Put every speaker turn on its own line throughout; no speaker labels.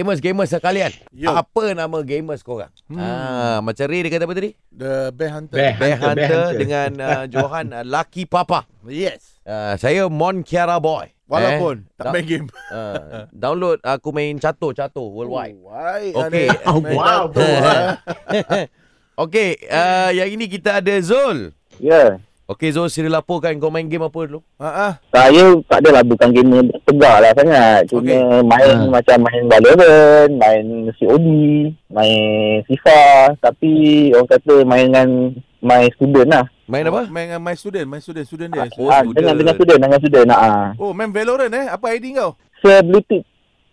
Gamers-gamers sekalian.
Yo.
Apa nama gamers korang? Hmm. Ah, macam Ray dia kata apa tadi?
The Bear Hunter.
Bear
Bear
Hunter, Bear
Hunter
Hunter.
dengan uh, Johan uh, Lucky Papa.
Yes.
Uh, saya Mon Kiara Boy.
Walaupun
Eh,
tak
da-
main game.
uh, download aku main catur-catur worldwide.
Why?
Okay.
Oh, wow,
Okey, uh, yang ini kita ada Zul.
Ya,
Okey Zul, sila laporkan kau main game apa dulu?
Ha ah.
saya tak adalah bukan gamer tegak lah sangat. Cuma okay. main
Ha.
ha. macam main Valorant, main COD, main FIFA. Tapi orang kata main dengan my student lah.
Main apa?
Main dengan my student, my student, student dia.
Oh,
ah,
student.
dengan dengan student, dengan student. Nah, ah.
Oh, main Valorant eh. Apa ID kau?
Seblutik.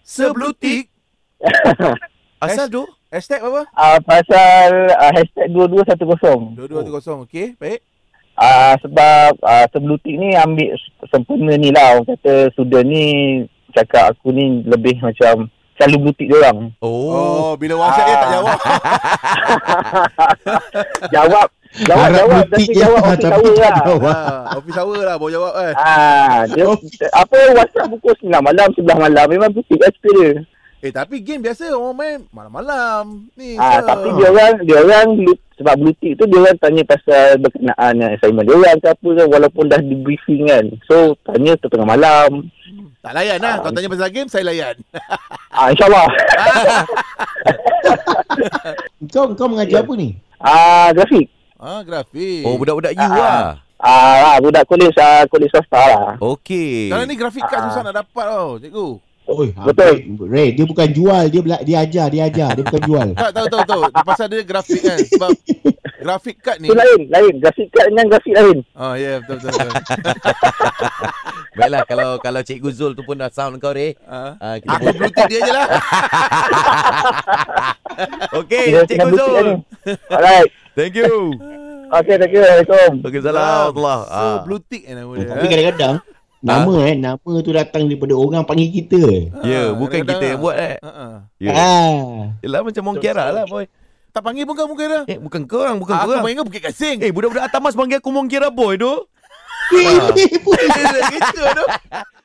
Seblutik. Oh,
Asal tu?
Hashtag apa?
Ah, pasal ah, hashtag 2210.
2210. Okey, baik.
Ah, sebab ah, seblutik ni ambil sempurna ni lah. Orang kata student ni cakap aku ni lebih macam selalu butik dia orang.
Oh.
Oh, bila WhatsApp dia tak jawab.
jawab jawab
Harap
jawab
butik je,
tapi jawab
Ah, tapi
office
tak
hour lah.
jawab.
ha, office hour lah baru jawab kan.
Ah, dia apa WhatsApp pukul 9 malam 11 malam memang butik lah cerita dia.
Eh, tapi game biasa orang main malam-malam. Ni.
Ah,
ke.
tapi dia orang dia orang blue- sebab blutik tu dia orang tanya pasal berkenaan dengan assignment dia orang ke apa kan walaupun dah di briefing kan. So tanya tu tengah malam.
tak layan lah. Kau tanya pasal game, saya layan.
Ah insyaallah.
Kau kau mengajar
Ya.
apa ni?
ah grafik.
Ah, grafik.
Oh, budak-budak you
Ah, ah.
lah.
Ah, ah budak kolej ah, kolej swasta lah.
Okey.
Sekarang ni grafik kad
Ah.
susah nak dapat tau, cikgu.
Oi,
Betul.
Ah, Ray, Ray, dia bukan jual, dia bela- dia ajar, dia ajar, dia bukan jual.
Tak tahu tahu tahu. Pasal dia grafik kan sebab grafik kad ni.
Itu lain, lain. Grafik kad dengan grafik lain.
Ah ya yeah, betul betul. betul.
Baiklah kalau kalau Cikgu Zul tu pun dah sound kau Ray.
Ah.
Uh, kita
Aku blue tick dia je lah.
Okey,
Dia
Cikgu
tengah butik lah
Zul.
ni. Alright.
Thank you.
Okay, thank you. Assalamualaikum.
Waalaikumsalam Allah. Ah.
So blue tick eh nama dia.
Oh, Tapi
kan
kadang-kadang nama eh, nama tu datang daripada orang panggil kita.
Ah,
Ya, bukan kita
kadang-kadang
yang buat eh.
ah. Ah, ah.
Ya.
Ah.
Yelah macam Mong Kiara lah boy.
Tak panggil pun kau mungkin dah.
Eh bukan kau orang, bukan kau
Aku
orang.
main kau Bukit Kasing.
Eh budak-budak Atamas panggil aku Mong Kiara boy tu.
Weh, boy.
Kita tu.